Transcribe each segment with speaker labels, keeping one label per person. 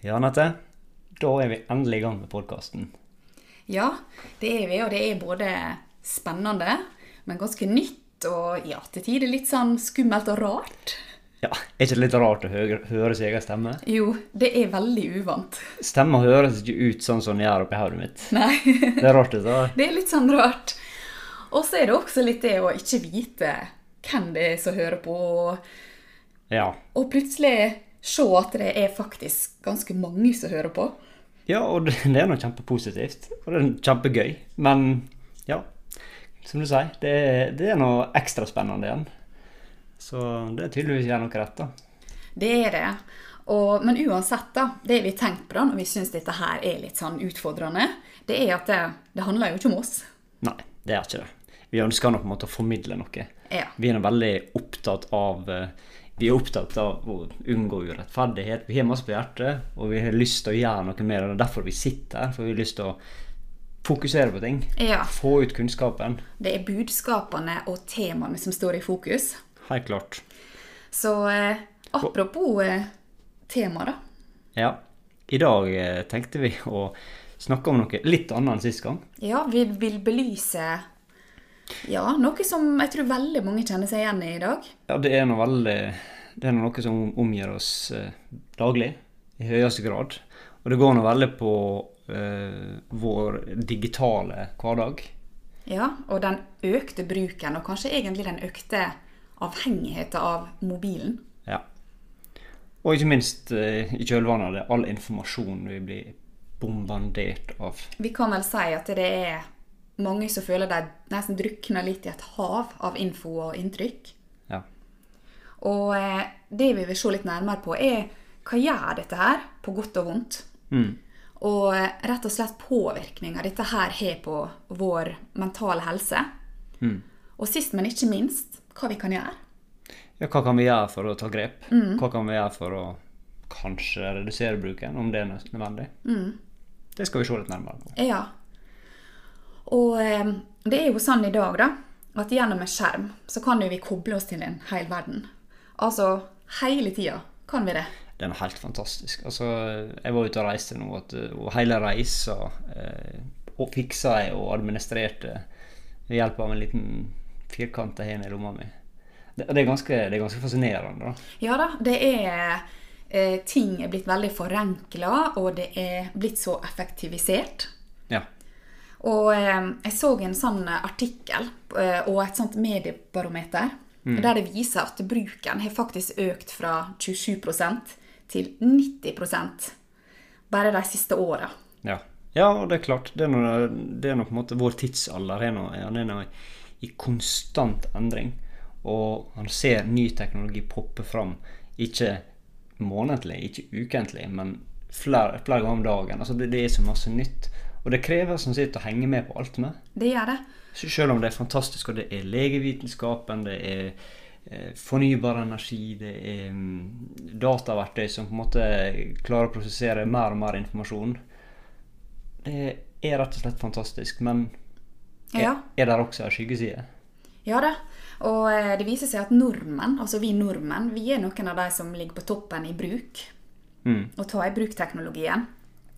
Speaker 1: Ja, Anette. Da er vi endelig i gang med podkasten.
Speaker 2: Ja, det er vi, og det er både spennende, men ganske nytt, og ja, til tider litt sånn skummelt og rart.
Speaker 1: Ja, er ikke det litt rart å hø høre sin egen stemme?
Speaker 2: Jo, det er veldig uvant.
Speaker 1: Stemma høres ikke ut sånn som den gjør oppi hodet mitt.
Speaker 2: Nei,
Speaker 1: Det er rart, dette. her.
Speaker 2: det er litt sånn rart. Og så er det også litt det å ikke vite hvem det er som hører på, og,
Speaker 1: Ja.
Speaker 2: og plutselig se at det er faktisk ganske mange som hører på.
Speaker 1: ja, og det det er noe kjempepositivt. Og det er kjempegøy. Men ja, som du sier, det, er- det er noe ekstra spennende igjen. Så det er tydeligvis gjør noe rett, da.
Speaker 2: Det er det. Og, men uansett, da, det vi tenkte på da, når vi syns dette her er litt sånn utfordrende, det er at det, det handler jo ikke om oss.
Speaker 1: Nei, det er ikke det. Vi ønsker nå på en måte å formidle noe.
Speaker 2: Ja.
Speaker 1: Vi er nå veldig opptatt av eh, Vi er opptatt av å unngå urettferdighet. Vi har masse på hjertet, og vi har lyst til å gjøre noe med det. Det er derfor vi sitter her. For vi har lyst til å fokusere på ting.
Speaker 2: Ja.
Speaker 1: Få ut kunnskapen.
Speaker 2: Det er budskapene og temaene som står i fokus.
Speaker 1: Helt klart.
Speaker 2: Så eh, apropos eh, tema, da.
Speaker 1: Ja. I dag eh, tenkte vi å snakke om noe litt annet enn sist gang.
Speaker 2: Ja, vi vil belyse ja, noe som jeg tror veldig mange kjenner seg igjen i i dag.
Speaker 1: Ja, det er noe veldig Det er noe som omgir oss eh, daglig, i høyeste grad. Og det går nå veldig på eh, vår digitale hverdag.
Speaker 2: Ja, Og den økte bruken, og kanskje egentlig den økte avhengigheten av mobilen.
Speaker 1: Ja. Og ikke minst eh, i kjølvannet av det, all informasjon vi blir bombardert av.
Speaker 2: Vi kan vel si at det er mange som føler de nesten drukner litt i et hav av info og inntrykk.
Speaker 1: Ja.
Speaker 2: Og eh, det vi vil se litt nærmere på, er hva gjør dette her, på godt og vondt? Og eh, rett og slett påvirkninga dette her har på vår mentale helse. Og sist, men ikke minst, hva vi kan gjøre.
Speaker 1: ja, hva kan vi gjøre for å ta grep? Hva kan vi gjøre for å kanskje redusere bruken, om det er nø- nødvendig? Det skal vi se litt nærmere på.
Speaker 2: Ja. Og eh, det er jo sånn i dag, da, at gjennom en skjerm så kan jo vi koble oss til en hel verden. Altså hele tida kan vi det.
Speaker 1: Det er noe helt fantastisk. Altså, jeg var ute og reiste nå, at, eh, og hele reisa eh, og fiksa jeg og administrerte ved hjelp av en liten firkant jeg har nede i lomma mi. Det, det, er ganske, det er ganske fascinerende, da.
Speaker 2: Ja da, det er eh, Ting er blitt veldig forenkla, og det er blitt så effektivisert.
Speaker 1: Ja.
Speaker 2: Og eh, jeg så en sånn artikkel eh, og et sånt mediebarometer der det viser at bruken har faktisk økt fra 27 til 90 bare de siste åra.
Speaker 1: Ja. ja, og det er klart. Det er nå det er nå på en måte vår tidsalder er nå, han er nå i konstant endring. Og han ser ny teknologi poppe fram. Ikke månedlig, ikke ukentlig, men flere, flere ganger om dagen. Altså det, det er så masse nytt. Og det krever som sitt å henge med på alt med.
Speaker 2: Det gjør det.
Speaker 1: Så Selv om det er fantastisk, og det er legevitenskapen, det er eh, fornybar energi, det er mm, dataverktøy som på en måte klarer å prosessere mer og mer informasjon. Det er rett og slett fantastisk, men er,
Speaker 2: Ja.
Speaker 1: er der også en skyggeside?
Speaker 2: Ja da. Og eh, det viser seg at nordmenn, altså vi nordmenn, vi er noen av de som ligger på toppen i bruk.
Speaker 1: Mm.
Speaker 2: Å ta i bruk teknologien.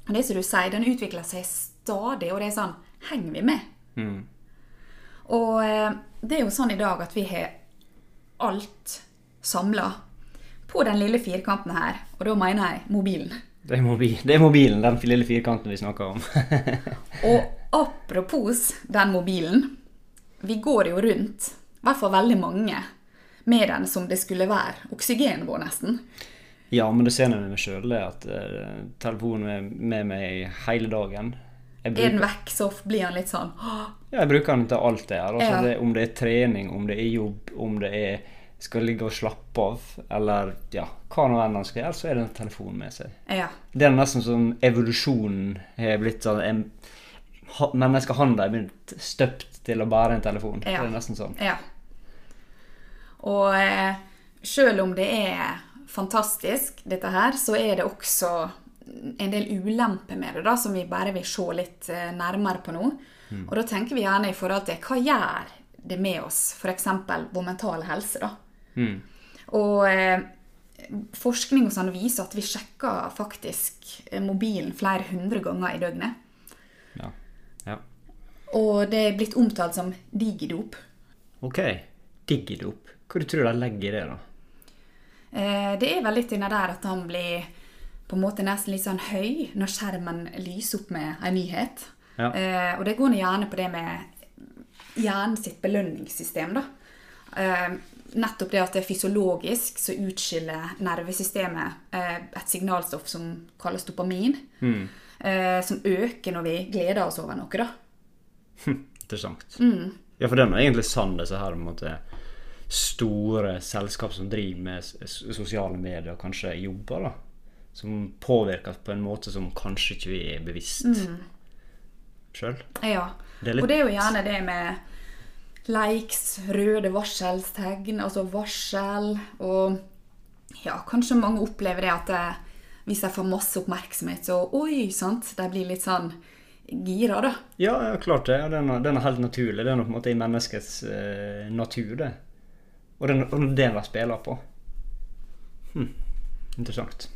Speaker 2: Og det som du sier, den utvikler seg stadig, og det er sånn Henger vi med?
Speaker 1: Mm.
Speaker 2: Og eh, det er jo sånn i dag at vi har alt samla på den lille firkanten her, og da mener jeg mobilen.
Speaker 1: Det, er mobil, det er mobilen, den lille firkanten vi snakker om.
Speaker 2: Og apropos den mobilen. Vi går jo rundt, i hvert fall veldig mange, med den som det skulle være oksygen vår, nesten.
Speaker 1: ja, men det ser jeg med meg sjøl, det at eh, telefonen er med meg hele dagen. Jeg
Speaker 2: Er den vekk, så blir han litt sånn «Åh,
Speaker 1: Ja, jeg bruker den til alt det her. Altså
Speaker 2: Ja.
Speaker 1: det, om det er trening, om det er jobb, om det er skal ligge og slappe av, eller ja, hva nå enn han skal gjøre, så er det en telefon med seg.
Speaker 2: Ja.
Speaker 1: Det er nesten som evolusjonen har blitt sånn en, ha, Menneskehanda er blitt støpt til å bære en telefon.
Speaker 2: Ja.
Speaker 1: Det er nesten sånn.
Speaker 2: Ja. Og eh, sjøl om det er fantastisk, dette her, så er det også en del ulemper med det, da, som vi bare vil se litt eh, nærmere på nå. Og da tenker vi gjerne i forhold til hva gjør det med oss, f.eks. vår mentale helse, da. Og eh, forskning og sånn viser at vi sjekker faktisk eh, mobilen flere hundre ganger i døgnet.
Speaker 1: Ja. ja.
Speaker 2: Og det er blitt omtalt som digidop.
Speaker 1: Ok. Digidop. Hva du tror du de legger i det, da?
Speaker 2: Eh, Det er vel litt inni der at han blir på en måte nesten litt sånn høy når skjermen lyser opp med en nyhet.
Speaker 1: Ja.
Speaker 2: Eh, Og det går nå gjerne på det med hjernen sitt belønningssystem, da. Eh, Nettopp det at det er fysiologisk så utskiller nervesystemet eh, et signalstoff som kalles dopamin, eh, som øker når vi gleder oss over noe, da.
Speaker 1: Hm,
Speaker 2: Mm.
Speaker 1: Interessant. Ja, for det er nå egentlig sann, disse her på en måte, store selskap som driver med s- s- sosiale medier, og kanskje jobber, da. Som påvirkes på en måte som kanskje ikke vi er bevisst sjøl.
Speaker 2: Ja.
Speaker 1: Det er litt-
Speaker 2: Og det er jo gjerne det med likes, røde varselstegn, altså varsel og Ja, kanskje mange opplever det at eh, hvis de får masse oppmerksomhet, så oi, sant, de blir litt sånn gira, da.
Speaker 1: Ja, ja, klart det. Ja, den, er, den er helt naturlig. Den er på en måte i menneskets eh, natur, det. Og den, og det de spiller på. Hm. Interessant.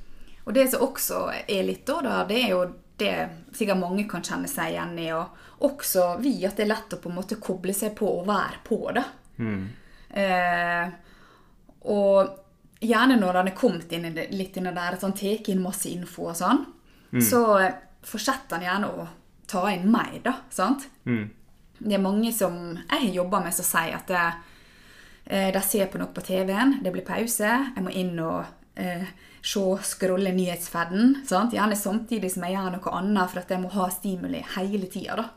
Speaker 2: Og det som også er litt da, da det er jo det sikkert mange kan kjenne seg igjen i, og også vi, at det er lett å på en måte koble seg på og være på, da.
Speaker 1: Mm.
Speaker 2: Eh, og gjerne når han er kommet inn i det, litt inn i det der, at han tar inn masse info og sånn, så fortsetter han gjerne å ta inn mer, da. sant? Det er mange som jeg har jobba med, som sier at det, Eh, De ser på noe på TV-en, det blir pause, jeg må inn og eh, se, scrolle nyhetsfadden. Sant? Gjerne samtidig som jeg gjør noe annet, for at jeg må ha stimuli hele tida. da.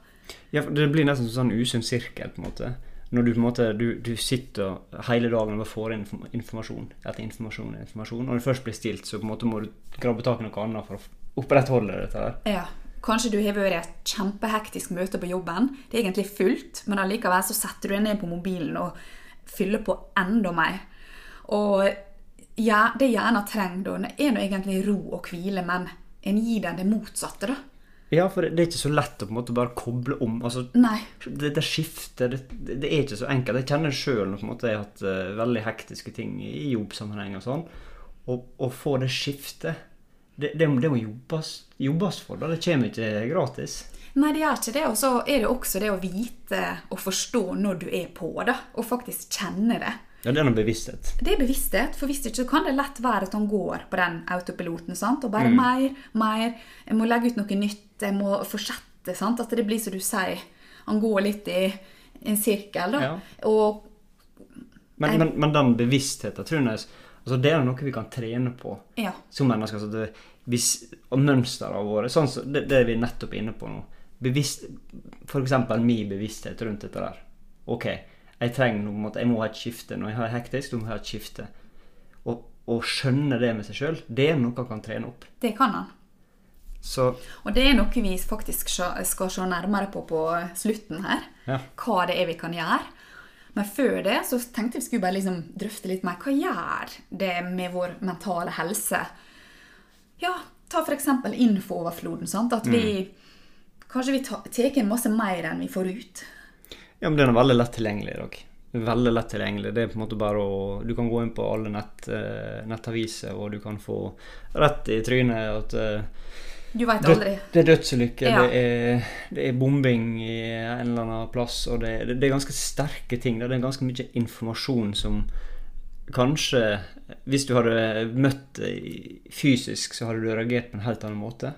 Speaker 1: Ja, for Det blir nesten som en sånn usunn sirkel. på en måte. Når du på en måte, du, du sitter hele dagen og bare får inn inform- informasjon etter informasjon, etter informasjon, og når det først blir stilt, så på en måte må du grabbe tak i noe annet for å f- opprettholde dette. her.
Speaker 2: Ja. Kanskje du har vært i et kjempehektisk møte på jobben. Det er egentlig fullt, men allikevel så setter du deg ned på mobilen og fyller på enda mer. Og ja, det hjernen trenger da, er nå egentlig ro og hvile, men en gir den det motsatte, da.
Speaker 1: Ja, for det, det er ikke så lett å på en måte bare koble om. altså...
Speaker 2: Nei.
Speaker 1: Det, det skiftet, det, det det er ikke så enkelt. Jeg kjenner sjøl når på en måte jeg har hatt eh, veldig hektiske ting i i jobbsammenheng og sånn. Og, og få det skiftet Det, det, må- det må jobbes, jobbes for. da, Det kommer ikke gratis.
Speaker 2: Nei, det gjør ikke det. Og så er det også det å vite og forstå når du er på, da. Og faktisk kjenne det.
Speaker 1: Ja, det er noe bevissthet.
Speaker 2: Det er bevissthet, for hvis ikke så kan det lett være at han går på den autopiloten. sant? Og bare mer, mer. Jeg må legge ut noe nytt. Jeg må fortsette. sant? At det blir som du sier. Han går litt i en sirkel, da.
Speaker 1: Ja.
Speaker 2: Og
Speaker 1: Men, men, men den bevisstheten, tror jeg altså Det er noe vi kan trene på
Speaker 2: Ja.
Speaker 1: som mennesker. Altså det, hvis, og mønstrene våre. Sånn som det, det er vi nettopp inne på nå. Bevisst, for eksempel min bevissthet rundt dette der. Ok, jeg trenger noe på en måte, jeg må ha et skifte. Når jeg har det hektisk, du må jeg ha et skifte. Og, å skjønne det med seg sjøl, det er noe han kan trene opp.
Speaker 2: det kan han.
Speaker 1: Så
Speaker 2: Og det er noe vi faktisk sja- skal se nærmere på på slutten her.
Speaker 1: Ja.
Speaker 2: Hva det er vi kan gjøre. Men før det så tenkte jeg vi skulle bare liksom drøfte litt mer. Hva gjør det med vår mentale helse? Ja, ta f.eks. infooverfloden. sant? At
Speaker 1: Mm.
Speaker 2: vi kanskje vi ta- tar inn masse mer enn vi får ut.
Speaker 1: Ja, men den er veldig lett tilgjengelig i dag. Veldig lett tilgjengelig. Det er på en måte bare å Du kan gå inn på alle nett, eh, nettaviser, og du kan få rett i trynet at eh,
Speaker 2: Du veit
Speaker 1: død,
Speaker 2: aldri.
Speaker 1: det er dødsulykker,
Speaker 2: Ja.
Speaker 1: det, er, det er bombing i en eller annen plass, og det, det, er ganske sterke ting. da. Det er ganske mye informasjon som kanskje Hvis du hadde møtt det i- fysisk, så hadde du reagert på en helt annen måte.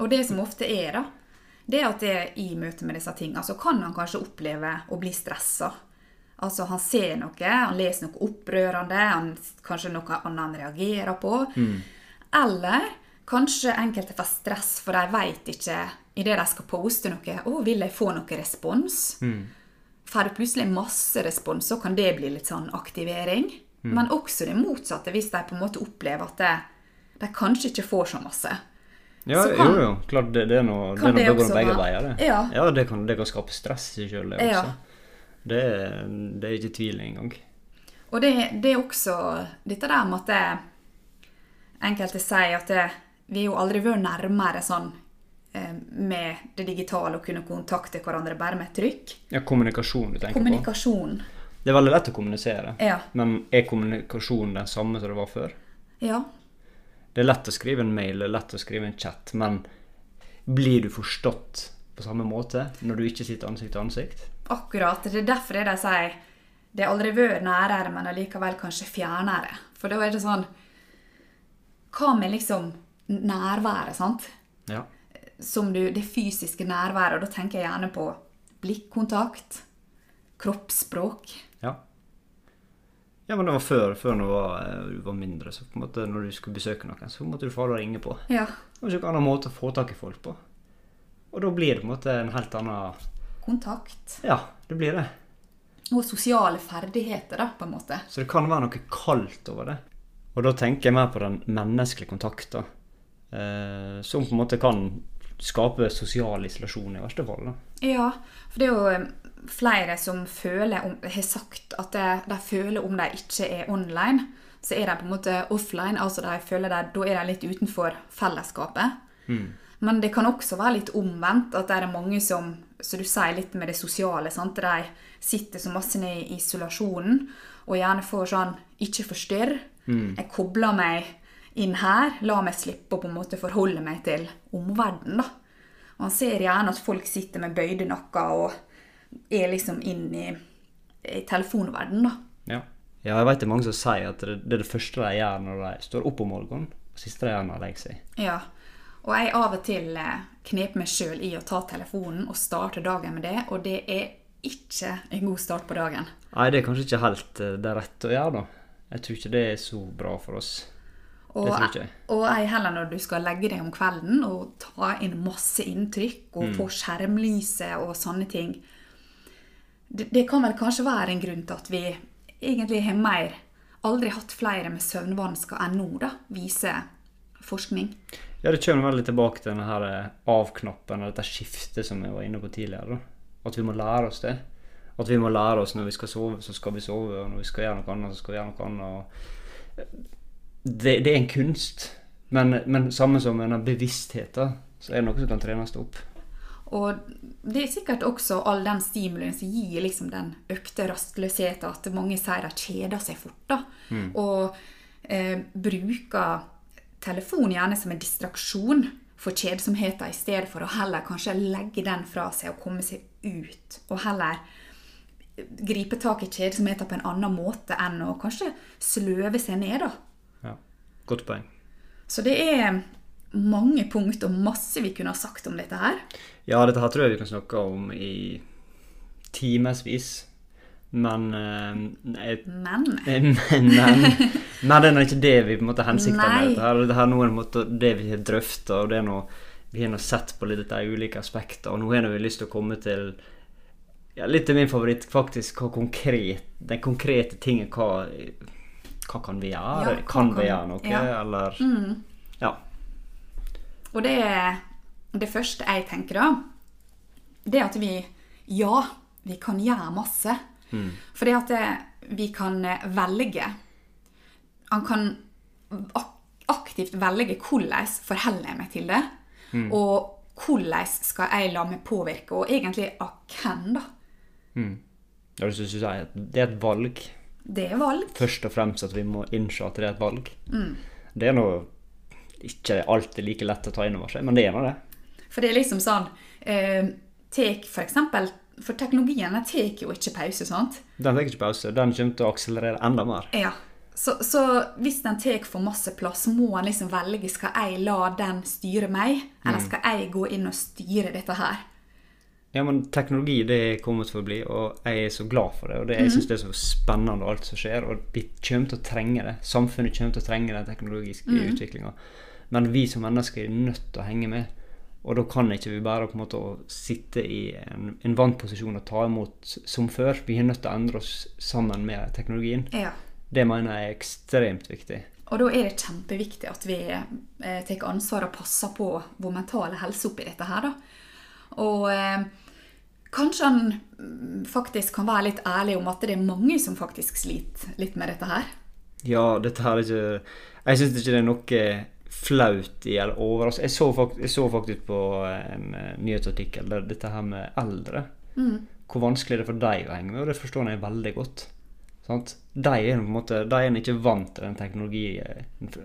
Speaker 2: Og det som ofte er, da, det er at det i møte med disse tingene, så kan han kanskje oppleve å bli stressa. Altså, han ser noe, han leser noe opprørende, han, kanskje noe annet han reagerer på. Eller kanskje enkelte får stress, for de veit ikke idet de skal poste noe, å, vil jeg få noe respons? Får du plutselig masse respons, så kan det bli litt sånn aktivering. Men også det motsatte, hvis de på en måte opplever at det, de kanskje ikke får så masse.
Speaker 1: Ja,
Speaker 2: Så kan-
Speaker 1: jo, jo. Klart det, det er noe
Speaker 2: Kan
Speaker 1: det er noe
Speaker 2: det
Speaker 1: det går
Speaker 2: også
Speaker 1: begge
Speaker 2: være-
Speaker 1: veier, det.
Speaker 2: Ja.
Speaker 1: det, kan, det kan skape stress i sjøl, det
Speaker 2: Ja.
Speaker 1: også. Det, er- det er ikke tvil engang.
Speaker 2: Og det, det er også dette der med at det, enkelte sier at det, vi har jo aldri vært nærmere sånn eh, med det digitale å kunne kontakte hverandre bare med et trykk.
Speaker 1: Ja, kommunikasjon du tenker på.
Speaker 2: Kommunikasjon.
Speaker 1: Det er veldig lett å kommunisere.
Speaker 2: Ja.
Speaker 1: Men er kommunikasjonen den samme som det var før?
Speaker 2: Ja.
Speaker 1: Det er lett å skrive en mail, det er lett å skrive en chat, men blir du forstått på samme måte når du ikke sitter ansikt til ansikt?
Speaker 2: Akkurat. Det er derfor jeg de sier det har aldri vært nærere, men allikevel kanskje fjernere. For da er det sånn Hva med liksom nærværet, sant?
Speaker 1: Ja.
Speaker 2: Som du, det fysiske nærværet. Og da tenker jeg gjerne på blikkontakt, kroppsspråk.
Speaker 1: Ja, ja men det var før, før når du var, eh, du var mindre, så på en måte når du skulle besøke noen, så måtte du få deg ringe på.
Speaker 2: Ja.
Speaker 1: Det var ikke noen annen måte å få tak i folk på. Og da blir det på en måte en helt annen
Speaker 2: Kontakt.
Speaker 1: Ja, det blir det.
Speaker 2: Og sosiale ferdigheter, da, på en måte.
Speaker 1: Så det kan være noe kaldt over det. Og da tenker jeg mer på den menneskelige kontakten. Eh, som på en måte kan skape sosial isolasjon i verste fall. Da.
Speaker 2: Ja, for det er jo eh, flere som føler om, har sagt at de, de føler om de ikke er online, så er de på en måte offline. altså de føler de, Da er de litt utenfor fellesskapet. Men det kan også være litt omvendt, at det er mange som så du sier litt med det sosiale. sant? De sitter så masse ned i isolasjonen og gjerne får sånn 'ikke forstyrr'. Jeg kobler meg inn her. La meg slippe å på en måte forholde meg til omverdenen. da. Og han ser gjerne at folk sitter med bøyde nakker og er liksom inn i, i telefonverdenen, da.
Speaker 1: Ja. ja, jeg vet det er mange som sier at det, det er det første de gjør når de står opp om morgenen. Det siste de gjør når de legger seg.
Speaker 2: Ja. Og jeg av og til eh, knep meg sjøl i å ta telefonen og starte dagen med det, og det er ikke en god start på dagen.
Speaker 1: Nei, det er kanskje ikke helt eh, det rette å gjøre, da. Jeg tror ikke det er så bra for oss.
Speaker 2: Og,
Speaker 1: Det tror ikke jeg.
Speaker 2: og ei heller når du skal legge deg om kvelden og ta inn masse inntrykk
Speaker 1: Mm.
Speaker 2: og få skjermlyset og sånne ting. Det, det kan vel kanskje være en grunn til at vi egentlig har mer Aldri hatt flere med søvnvansker enn nå, da, viser forskning.
Speaker 1: Ja, det kommer veldig tilbake til denne her eh, av-knappen og dette skiftet som jeg var inne på tidligere. da. At vi må lære oss det. At vi må lære oss når vi skal sove, så skal vi sove. Og når vi skal gjøre noe annet, så skal vi gjøre noe annet. og- Det, det er en kunst. Men, men samme som denne bevisstheten, så er det noe som kan trenes opp.
Speaker 2: Og det er sikkert også all den stimulien som gir liksom den økte rastløsheten, at mange sier de kjeder seg fort. da, Og eh, bruker telefon gjerne som en distraksjon for kjedsomheten, i stedet for å heller kanskje legge den fra seg og komme seg ut. Og heller eh, gripe tak i kjedsomheten på en annen måte enn å kanskje sløve seg ned. da.
Speaker 1: Ja. Godt poeng.
Speaker 2: Så det er mange punkt og masse vi kunne ha sagt om dette her.
Speaker 1: Ja, dette her tror jeg vi kan snakke om i timevis. Men eh, jeg
Speaker 2: Men
Speaker 1: men, men, men det er nå ikke det vi på en måte hensikter
Speaker 2: Nei.
Speaker 1: med dette. her. Dette her nå er på en måte det vi har drøftet, og det er nå vi har nå sett på litt de ulike aspekter, og nå har nå vi lyst til å komme til ja, litt til min favoritt, faktisk, hva konkret, den konkrete tingen, hva, hva kan vi gjøre?
Speaker 2: Ja, hva
Speaker 1: kan vi gjøre
Speaker 2: kan-
Speaker 1: noe,
Speaker 2: ja. Mm.
Speaker 1: eller Ja.
Speaker 2: Og det, det første jeg tenker da, det er at vi Ja, vi kan gjøre masse. For det at det- vi kan eh, velge Han kan ak- aktivt velge hvordan forholder jeg meg til det. Og hvordan skal jeg la meg påvirke, og egentlig av hvem, da.
Speaker 1: Jeg har lyst til å si at det er et valg.
Speaker 2: Det er valg.
Speaker 1: først og fremst at vi må innse at det er et valg.
Speaker 2: Mm.
Speaker 1: Det er nå ikke alltid like lett å ta inn over seg, men det er nå det.
Speaker 2: For det er liksom sånn eh, tek for eksempel For teknologien den tar jo ikke pause, sant?
Speaker 1: Den tar ikke pause. Den kommer til å akselerere enda mer.
Speaker 2: Ja. Så, så hvis den tar for masse plass, må en liksom velge skal jeg la den styre meg, eller skal jeg gå inn og styre dette her?
Speaker 1: Ja, men teknologi det er kommet for å bli, og jeg er så glad for det. Og det, jeg syns det er så spennende alt som skjer, og vi kommer til å trenge det. Samfunnet kommer til å trenge den teknologiske utviklinga. Men vi som mennesker er nødt til å henge med. Og da kan ikke vi bare på en måte å sitte i en, en vant posisjon og ta imot som før. Vi er nødt til å endre oss sammen med teknologien.
Speaker 2: Ja.
Speaker 1: Det mener jeg er ekstremt viktig.
Speaker 2: Og da er det kjempeviktig at vi eh, tar ansvar og passer på vår mentale helse oppi dette her, da. Og eh, kanskje han mm, faktisk kan være litt ærlig om at det er mange som faktisk sliter litt med dette her.
Speaker 1: Ja, dette her er ikke Jeg syns ikke det er noe flaut i eller overraskende. eh, Jeg, så fakt- jeg så faktisk på en eh, nyhetsartikkel der dette her med eldre. hvor vanskelig det er for dem å henge med, og det forstår jeg veldig godt. Sant? De er jo på en måte, de er ikke vant til den teknologien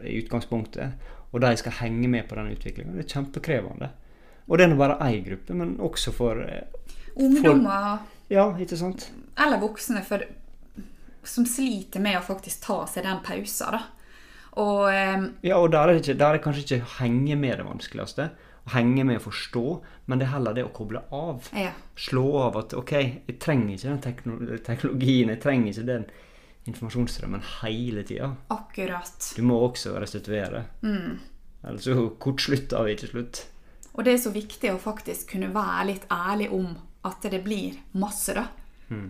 Speaker 1: i utgangspunktet, og de skal henge med på den utviklingen. Det er kjempekrevende. Og det er nå bare én gruppe, men også for eh,
Speaker 2: Ungdommer
Speaker 1: Ja, ikke sant?
Speaker 2: eller voksne for, som sliter med å faktisk ta seg den pausen, da. Og eh,
Speaker 1: Ja, og der er, det ikke, der er kanskje ikke å henge med det vanskeligste. Å henge med å forstå, men det er heller det å koble av.
Speaker 2: Ja.
Speaker 1: Slå av at OK, jeg trenger ikke den tekno- teknologien, jeg trenger ikke den informasjonsstrømmen hele tida.
Speaker 2: akkurat.
Speaker 1: Du må også restituere. Ellers så kortslutter vi ikke slutt.
Speaker 2: Og det er så viktig å faktisk kunne være litt ærlig om at det blir masse, da.
Speaker 1: Mm.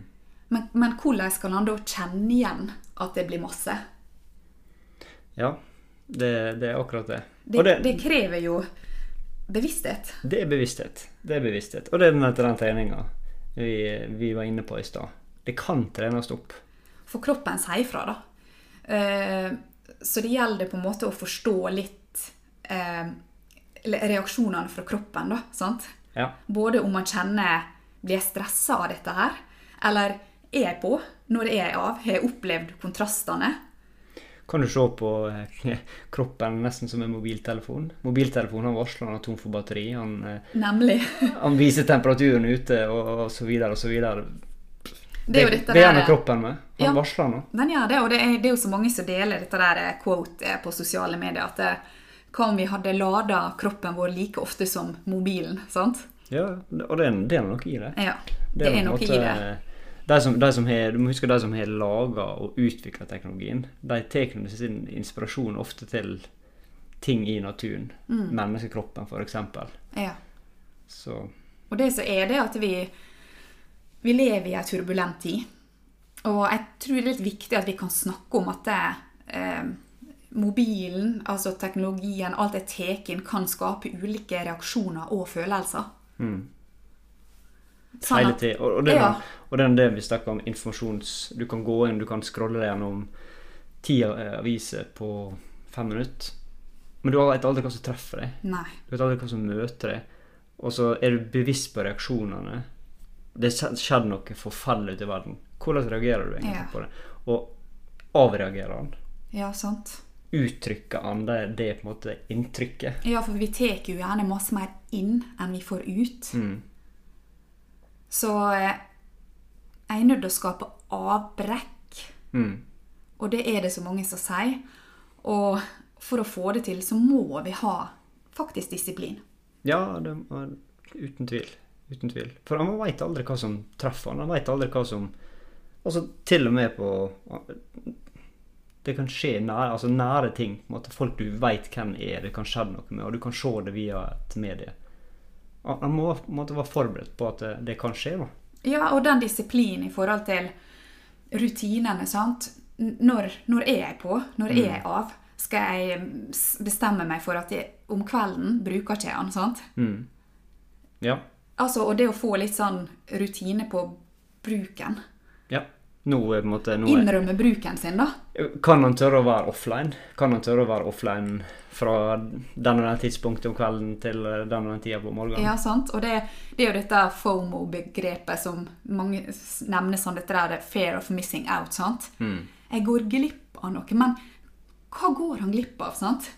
Speaker 2: Men, men hvordan skal han da kjenne igjen at det blir masse?
Speaker 1: Ja, det, det er akkurat det.
Speaker 2: Det,
Speaker 1: Og
Speaker 2: det,
Speaker 1: det,
Speaker 2: krever jo bevissthet.
Speaker 1: Det er bevissthet. Det er bevissthet. Og det er den etter den treninga vi, vi var inne på i stad. Det kan trenes opp.
Speaker 2: For kroppen sier ifra, da. Eh, så det gjelder på en måte å forstå litt eh, reaksjonene fra kroppen, da. sant?
Speaker 1: Ja.
Speaker 2: Både om man kjenner Blir jeg stressa av dette her? Eller er jeg på? Når er jeg av? Har jeg opplevd kontrastene?
Speaker 1: Kan du se på eh, kroppen nesten som en mobiltelefon? Mobiltelefonen han varsler han er tom for batteri. Han, eh,
Speaker 2: Nemlig.
Speaker 1: han viser temperaturen ute og, og så videre og så videre.
Speaker 2: Det er jo dette
Speaker 1: det han
Speaker 2: der-
Speaker 1: er kroppen med. Han
Speaker 2: Ja.
Speaker 1: varsler nå.
Speaker 2: Den gjør det, og det er, det er jo så mange som deler dette der eh, quote eh, på sosiale medier at eh, hva om vi hadde lada kroppen vår like ofte som mobilen? sant?
Speaker 1: Ja, og det er, det er noe i det.
Speaker 2: Ja, det er
Speaker 1: på en
Speaker 2: noe i
Speaker 1: måte-
Speaker 2: det.
Speaker 1: De som, de som har, du må huske de som har laga og utvikla teknologien, de tar nå sin inspirasjon ofte til ting i naturen.
Speaker 2: Mm.
Speaker 1: Menneskekroppen, f.eks.
Speaker 2: Ja.
Speaker 1: Så
Speaker 2: Og det som er det, at vi, vi lever i en turbulent tid. Og jeg tror det er litt viktig at vi kan snakke om at det, eh, mobilen, altså teknologien, alt jeg tar inn, kan skape ulike reaksjoner og følelser.
Speaker 1: mm.
Speaker 2: Sånn
Speaker 1: hele
Speaker 2: at-
Speaker 1: tiden. Og, og, det, er
Speaker 2: Ja.
Speaker 1: den- og det er det vi snakker om informasjons... Du kan gå inn, du kan scrolle deg gjennom ti eh, aviser på fem minutter. Men du vet aldri hva som treffer deg.
Speaker 2: Nei.
Speaker 1: Du vet aldri hva som møter deg. Og så er du bevisst på reaksjonene. Det har skjedd noe forferdelig ute i verden. Hvordan reagerer du egentlig
Speaker 2: Ja.
Speaker 1: på det? Og avreagerer han?
Speaker 2: Ja, sant.
Speaker 1: Uttrykker han det, det på en måte inntrykket?
Speaker 2: Ja, for vi tar jo gjerne masse mer inn enn vi får ut. Så eh, jeg er nødt til å skape avbrekk. Og det er det så mange som sier. Og for å få det til, så må vi ha faktisk disiplin.
Speaker 1: Ja, det, må- uten tvil. Uten tvil. For han veit aldri hva som treffer han. Han veit aldri hva som Altså til og med på Det kan skje nære, altså nære ting. på en måte Folk du veit hvem er, det kan skje noe med, og du kan se det via et medie. Han han må på en måte være forberedt på at det, det kan skje. da.
Speaker 2: Ja, og den disiplinen i forhold til rutinene, sant. N- Når, når er jeg på? Når er jeg av? Skal jeg mm, s- bestemme meg for at jeg, om kvelden bruker ikke jeg den, sant?
Speaker 1: Mm. Ja.
Speaker 2: Altså, og det å få litt sånn rutine på bruken.
Speaker 1: ja. Nå er på en måte nå er,
Speaker 2: Innrømme bruken sin, da.
Speaker 1: Kan han tørre å være offline? Kan han tørre å være offline fra den og den tidspunktet om kvelden til den og den tida på morgenen?
Speaker 2: Ja, sant? Og det, det er jo dette FOMO-begrepet som mange s- nevner som dette der fair of missing out. sant? Jeg går glipp av noe, men hva går han glipp av? sant?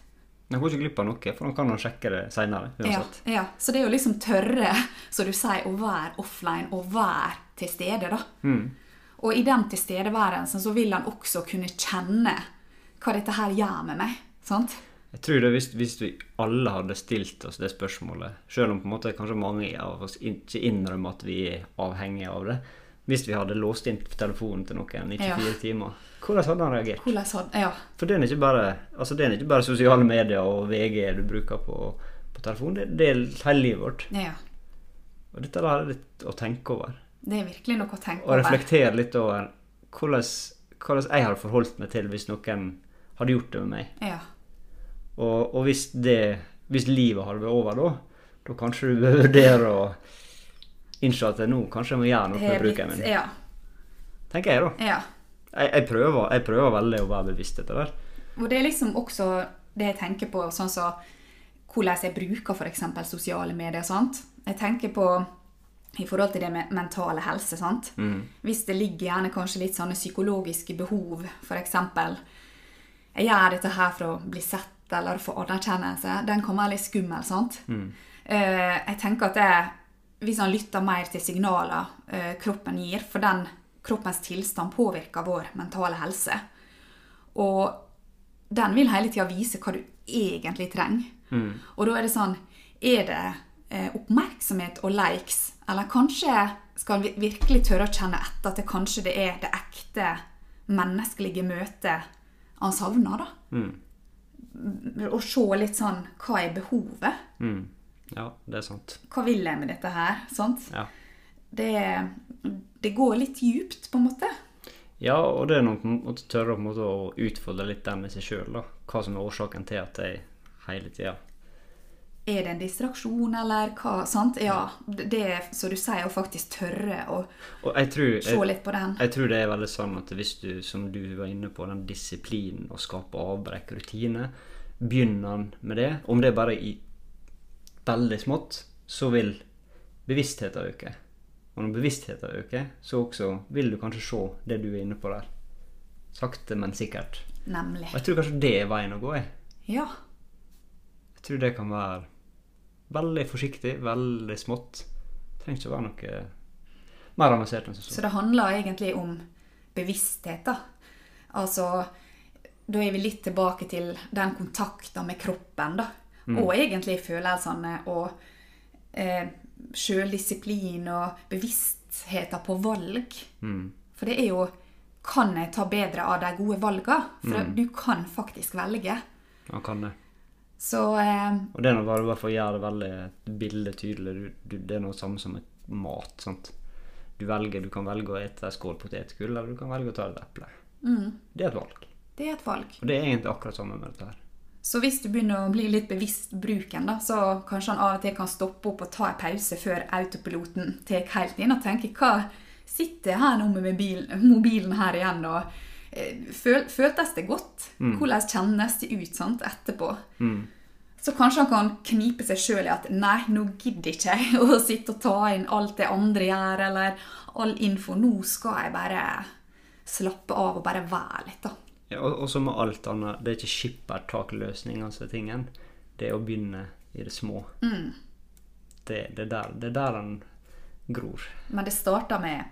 Speaker 1: Han går ikke glipp av noe, for han kan jo sjekke det seinere.
Speaker 2: Ja,
Speaker 1: uansett.
Speaker 2: ja, Så det er jo liksom tørre, som du sier, å være offline og være til stede, da. Og i den tilstedeværelsen så vil han også kunne kjenne hva dette her gjør med meg. sant?
Speaker 1: Jeg tror det hvis, hvis vi alle hadde stilt oss det spørsmålet, selv om på en måte kanskje mange av oss ikke innrømmer at vi er avhengige av det Hvis vi hadde låst inn telefonen til noen i 24
Speaker 2: Ja.
Speaker 1: timer, hvordan hadde han reagert?
Speaker 2: Hvordan hadde, ja,
Speaker 1: For det er ikke bare, altså det er ikke bare sosiale medier og VG du bruker på, på telefon, det, det er hele livet vårt.
Speaker 2: Ja,
Speaker 1: Og dette der er litt å tenke over.
Speaker 2: det er virkelig noe å tenke
Speaker 1: Og
Speaker 2: over.
Speaker 1: reflektere litt over hvordan, hvordan jeg hadde forholdt meg til hvis noen hadde gjort det med meg.
Speaker 2: Ja,
Speaker 1: Og, og hvis, det, hvis livet hadde vært over da, da kanskje du bør vurdere å innse at nå kanskje jeg må gjøre noe
Speaker 2: det
Speaker 1: med
Speaker 2: er
Speaker 1: bruken
Speaker 2: blitt,
Speaker 1: min.
Speaker 2: ja,
Speaker 1: Tenker jeg, da.
Speaker 2: ja.
Speaker 1: Jeg, jeg, prøver, jeg prøver veldig å være bevisst etter hvert.
Speaker 2: Og det er liksom også det jeg tenker på, sånn som hvordan jeg bruker f.eks. sosiale medier. sant? Jeg tenker på i forhold til det med mentale helse. sant? Hvis det ligger gjerne kanskje litt sånne psykologiske behov, f.eks. Jeg gjør dette her for å bli sett eller få anerkjennelse. Den kan være litt skummel. sant? Eh, jeg tenker at det, hvis han lytter mer til signaler eh, kroppen gir, for den kroppens tilstand påvirker vår mentale helse. Og den vil hele tida vise hva du egentlig trenger. Og da er det sånn Er det eh, oppmerksomhet og likes? Eller kanskje skal vi virkelig tørre å kjenne etter at det kanskje det er det ekte menneskelige møtet han savner, da? Og se litt sånn Hva er behovet?
Speaker 1: Mm. Ja, det er sant.
Speaker 2: Hva vil jeg med dette her? Sant?
Speaker 1: Ja.
Speaker 2: Det, det går litt djupt, på en måte.
Speaker 1: Ja, og det er nok å tørre på en måte å utfordre litt den med seg sjøl, da. Hva som er årsaken til at jeg hele tida
Speaker 2: Er det en distraksjon, eller hva? Sant? Ja. Det det er, som du sier, å faktisk tørre å
Speaker 1: Og jeg tror,
Speaker 2: se
Speaker 1: jeg,
Speaker 2: litt på den.
Speaker 1: jeg tror det er veldig sånn at hvis du, som du var inne på, den disiplinen å skape avbrekk, rutine, begynner han med det, om det er bare i veldig smått, så vil bevisstheten øke. Og når bevisstheten øker, så også vil du kanskje se det du er inne på der. Sakte, men sikkert.
Speaker 2: Nemlig.
Speaker 1: Og jeg tror kanskje det er veien å gå, jeg.
Speaker 2: Ja.
Speaker 1: Jeg tror det kan være veldig forsiktig, veldig smått. Det trenger ikke å være noe mer avansert enn som så.
Speaker 2: Så det handler egentlig om bevissthet, da. Altså, da er vi litt tilbake til den kontakten med kroppen, da. Og egentlig følelsene og eh, sjøldisiplin og bevisstheten på valg. For det er jo Kan jeg ta bedre av de gode valgene? For du kan faktisk velge.
Speaker 1: Man kan det.
Speaker 2: Så eh,
Speaker 1: Og det er nå bare bare for å gjøre det veldig et bilde tydelig. Du, du, det er noe samme som et mat. sant? Du velger, du kan velge å ete en skål potetgull, eller du kan velge å ta et eple. Det er et valg.
Speaker 2: det er et valg.
Speaker 1: Og det er egentlig akkurat samme med dette her.
Speaker 2: Så hvis du begynner å bli litt bevisst bruken, da, så kanskje han av og til kan stoppe opp og ta en pause før autopiloten tar helt inn og tenker hva sitter jeg her nå med mobil, mobilen her igjen og eh, føl, føltes det godt? Hvordan kjennes det ut sant, etterpå? Så kanskje han kan knipe seg sjøl i at nei, nå gidder ikke jeg å sitte og ta inn alt det andre gjør, eller all info. Nå skal jeg bare slappe av og bare være litt, da.
Speaker 1: Ja, og, og så med alt annet, det er ikke skippertakløsning, altså tingen. Det er å begynne i det små. Det, det, er der, det er der den gror.
Speaker 2: Men det starter med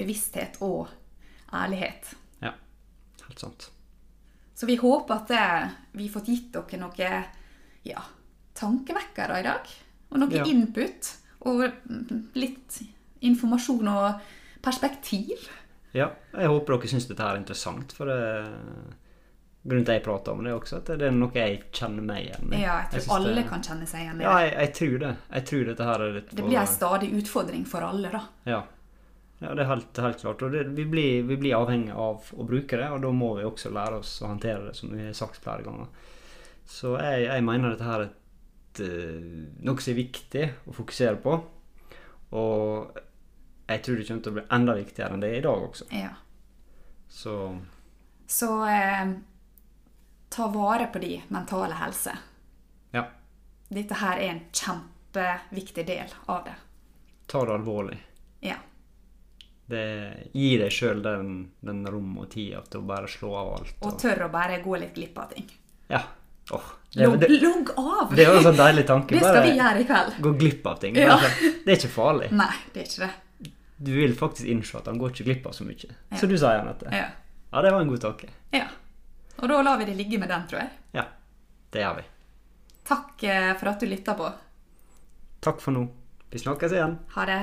Speaker 2: bevissthet og ærlighet.
Speaker 1: Ja, helt sant.
Speaker 2: Så vi håper at eh, vi har fått gitt dere noen ja, tankevekkere i dag. Og noe
Speaker 1: Ja.
Speaker 2: input. Og mm, litt informasjon og perspektiv.
Speaker 1: Ja, jeg håper dere syns dette her er interessant, for det, grunnen til at jeg prater om det også, at det er noe jeg kjenner meg igjen i.
Speaker 2: Ja, jeg tror
Speaker 1: syns
Speaker 2: alle
Speaker 1: det,
Speaker 2: kan kjenne seg igjen i
Speaker 1: Ja,
Speaker 2: det.
Speaker 1: jeg, jeg tror det. Jeg tror dette her er litt
Speaker 2: Det blir en stadig utfordring for alle, da.
Speaker 1: Ja. ja, det er helt, helt klart. Og det, vi, blir, vi blir avhengig av å bruke det, og da må vi også lære oss å håndtere det, som vi har sagt flere ganger. Så jeg, jeg mener dette her er et, eh, noe som er viktig å fokusere på. Og jeg tror det kommer til å bli enda viktigere enn det er i dag også.
Speaker 2: Ja.
Speaker 1: Så
Speaker 2: Så eh, ta vare på de mentale helse.
Speaker 1: ja.
Speaker 2: Dette her er en kjempeviktig del av det.
Speaker 1: ta det alvorlig.
Speaker 2: Ja.
Speaker 1: Det, gi deg sjøl den, den rom og tida til å bare slå av alt.
Speaker 2: Og
Speaker 1: Og,
Speaker 2: tør å bare gå litt glipp av ting.
Speaker 1: ja. Åh, det,
Speaker 2: Logg,
Speaker 1: det,
Speaker 2: logg av!
Speaker 1: det er jo en sånn deilig tanke.
Speaker 2: Det skal vi
Speaker 1: Bare
Speaker 2: gjøre i kveld.
Speaker 1: gå glipp av ting.
Speaker 2: Ja.
Speaker 1: Bare, det er ikke farlig.
Speaker 2: Nei, det er ikke det.
Speaker 1: Du vil faktisk innse at han går ikke glipp av så mye. Så du sier, Anette.
Speaker 2: Ja.
Speaker 1: Ja, det var en god tanke.
Speaker 2: ja. Og da lar vi det ligge med den, tror jeg.
Speaker 1: Ja, det gjør vi.
Speaker 2: Takk eh, for at du lytta på.
Speaker 1: Takk for nå. Vi snakkes igjen.
Speaker 2: Ha det.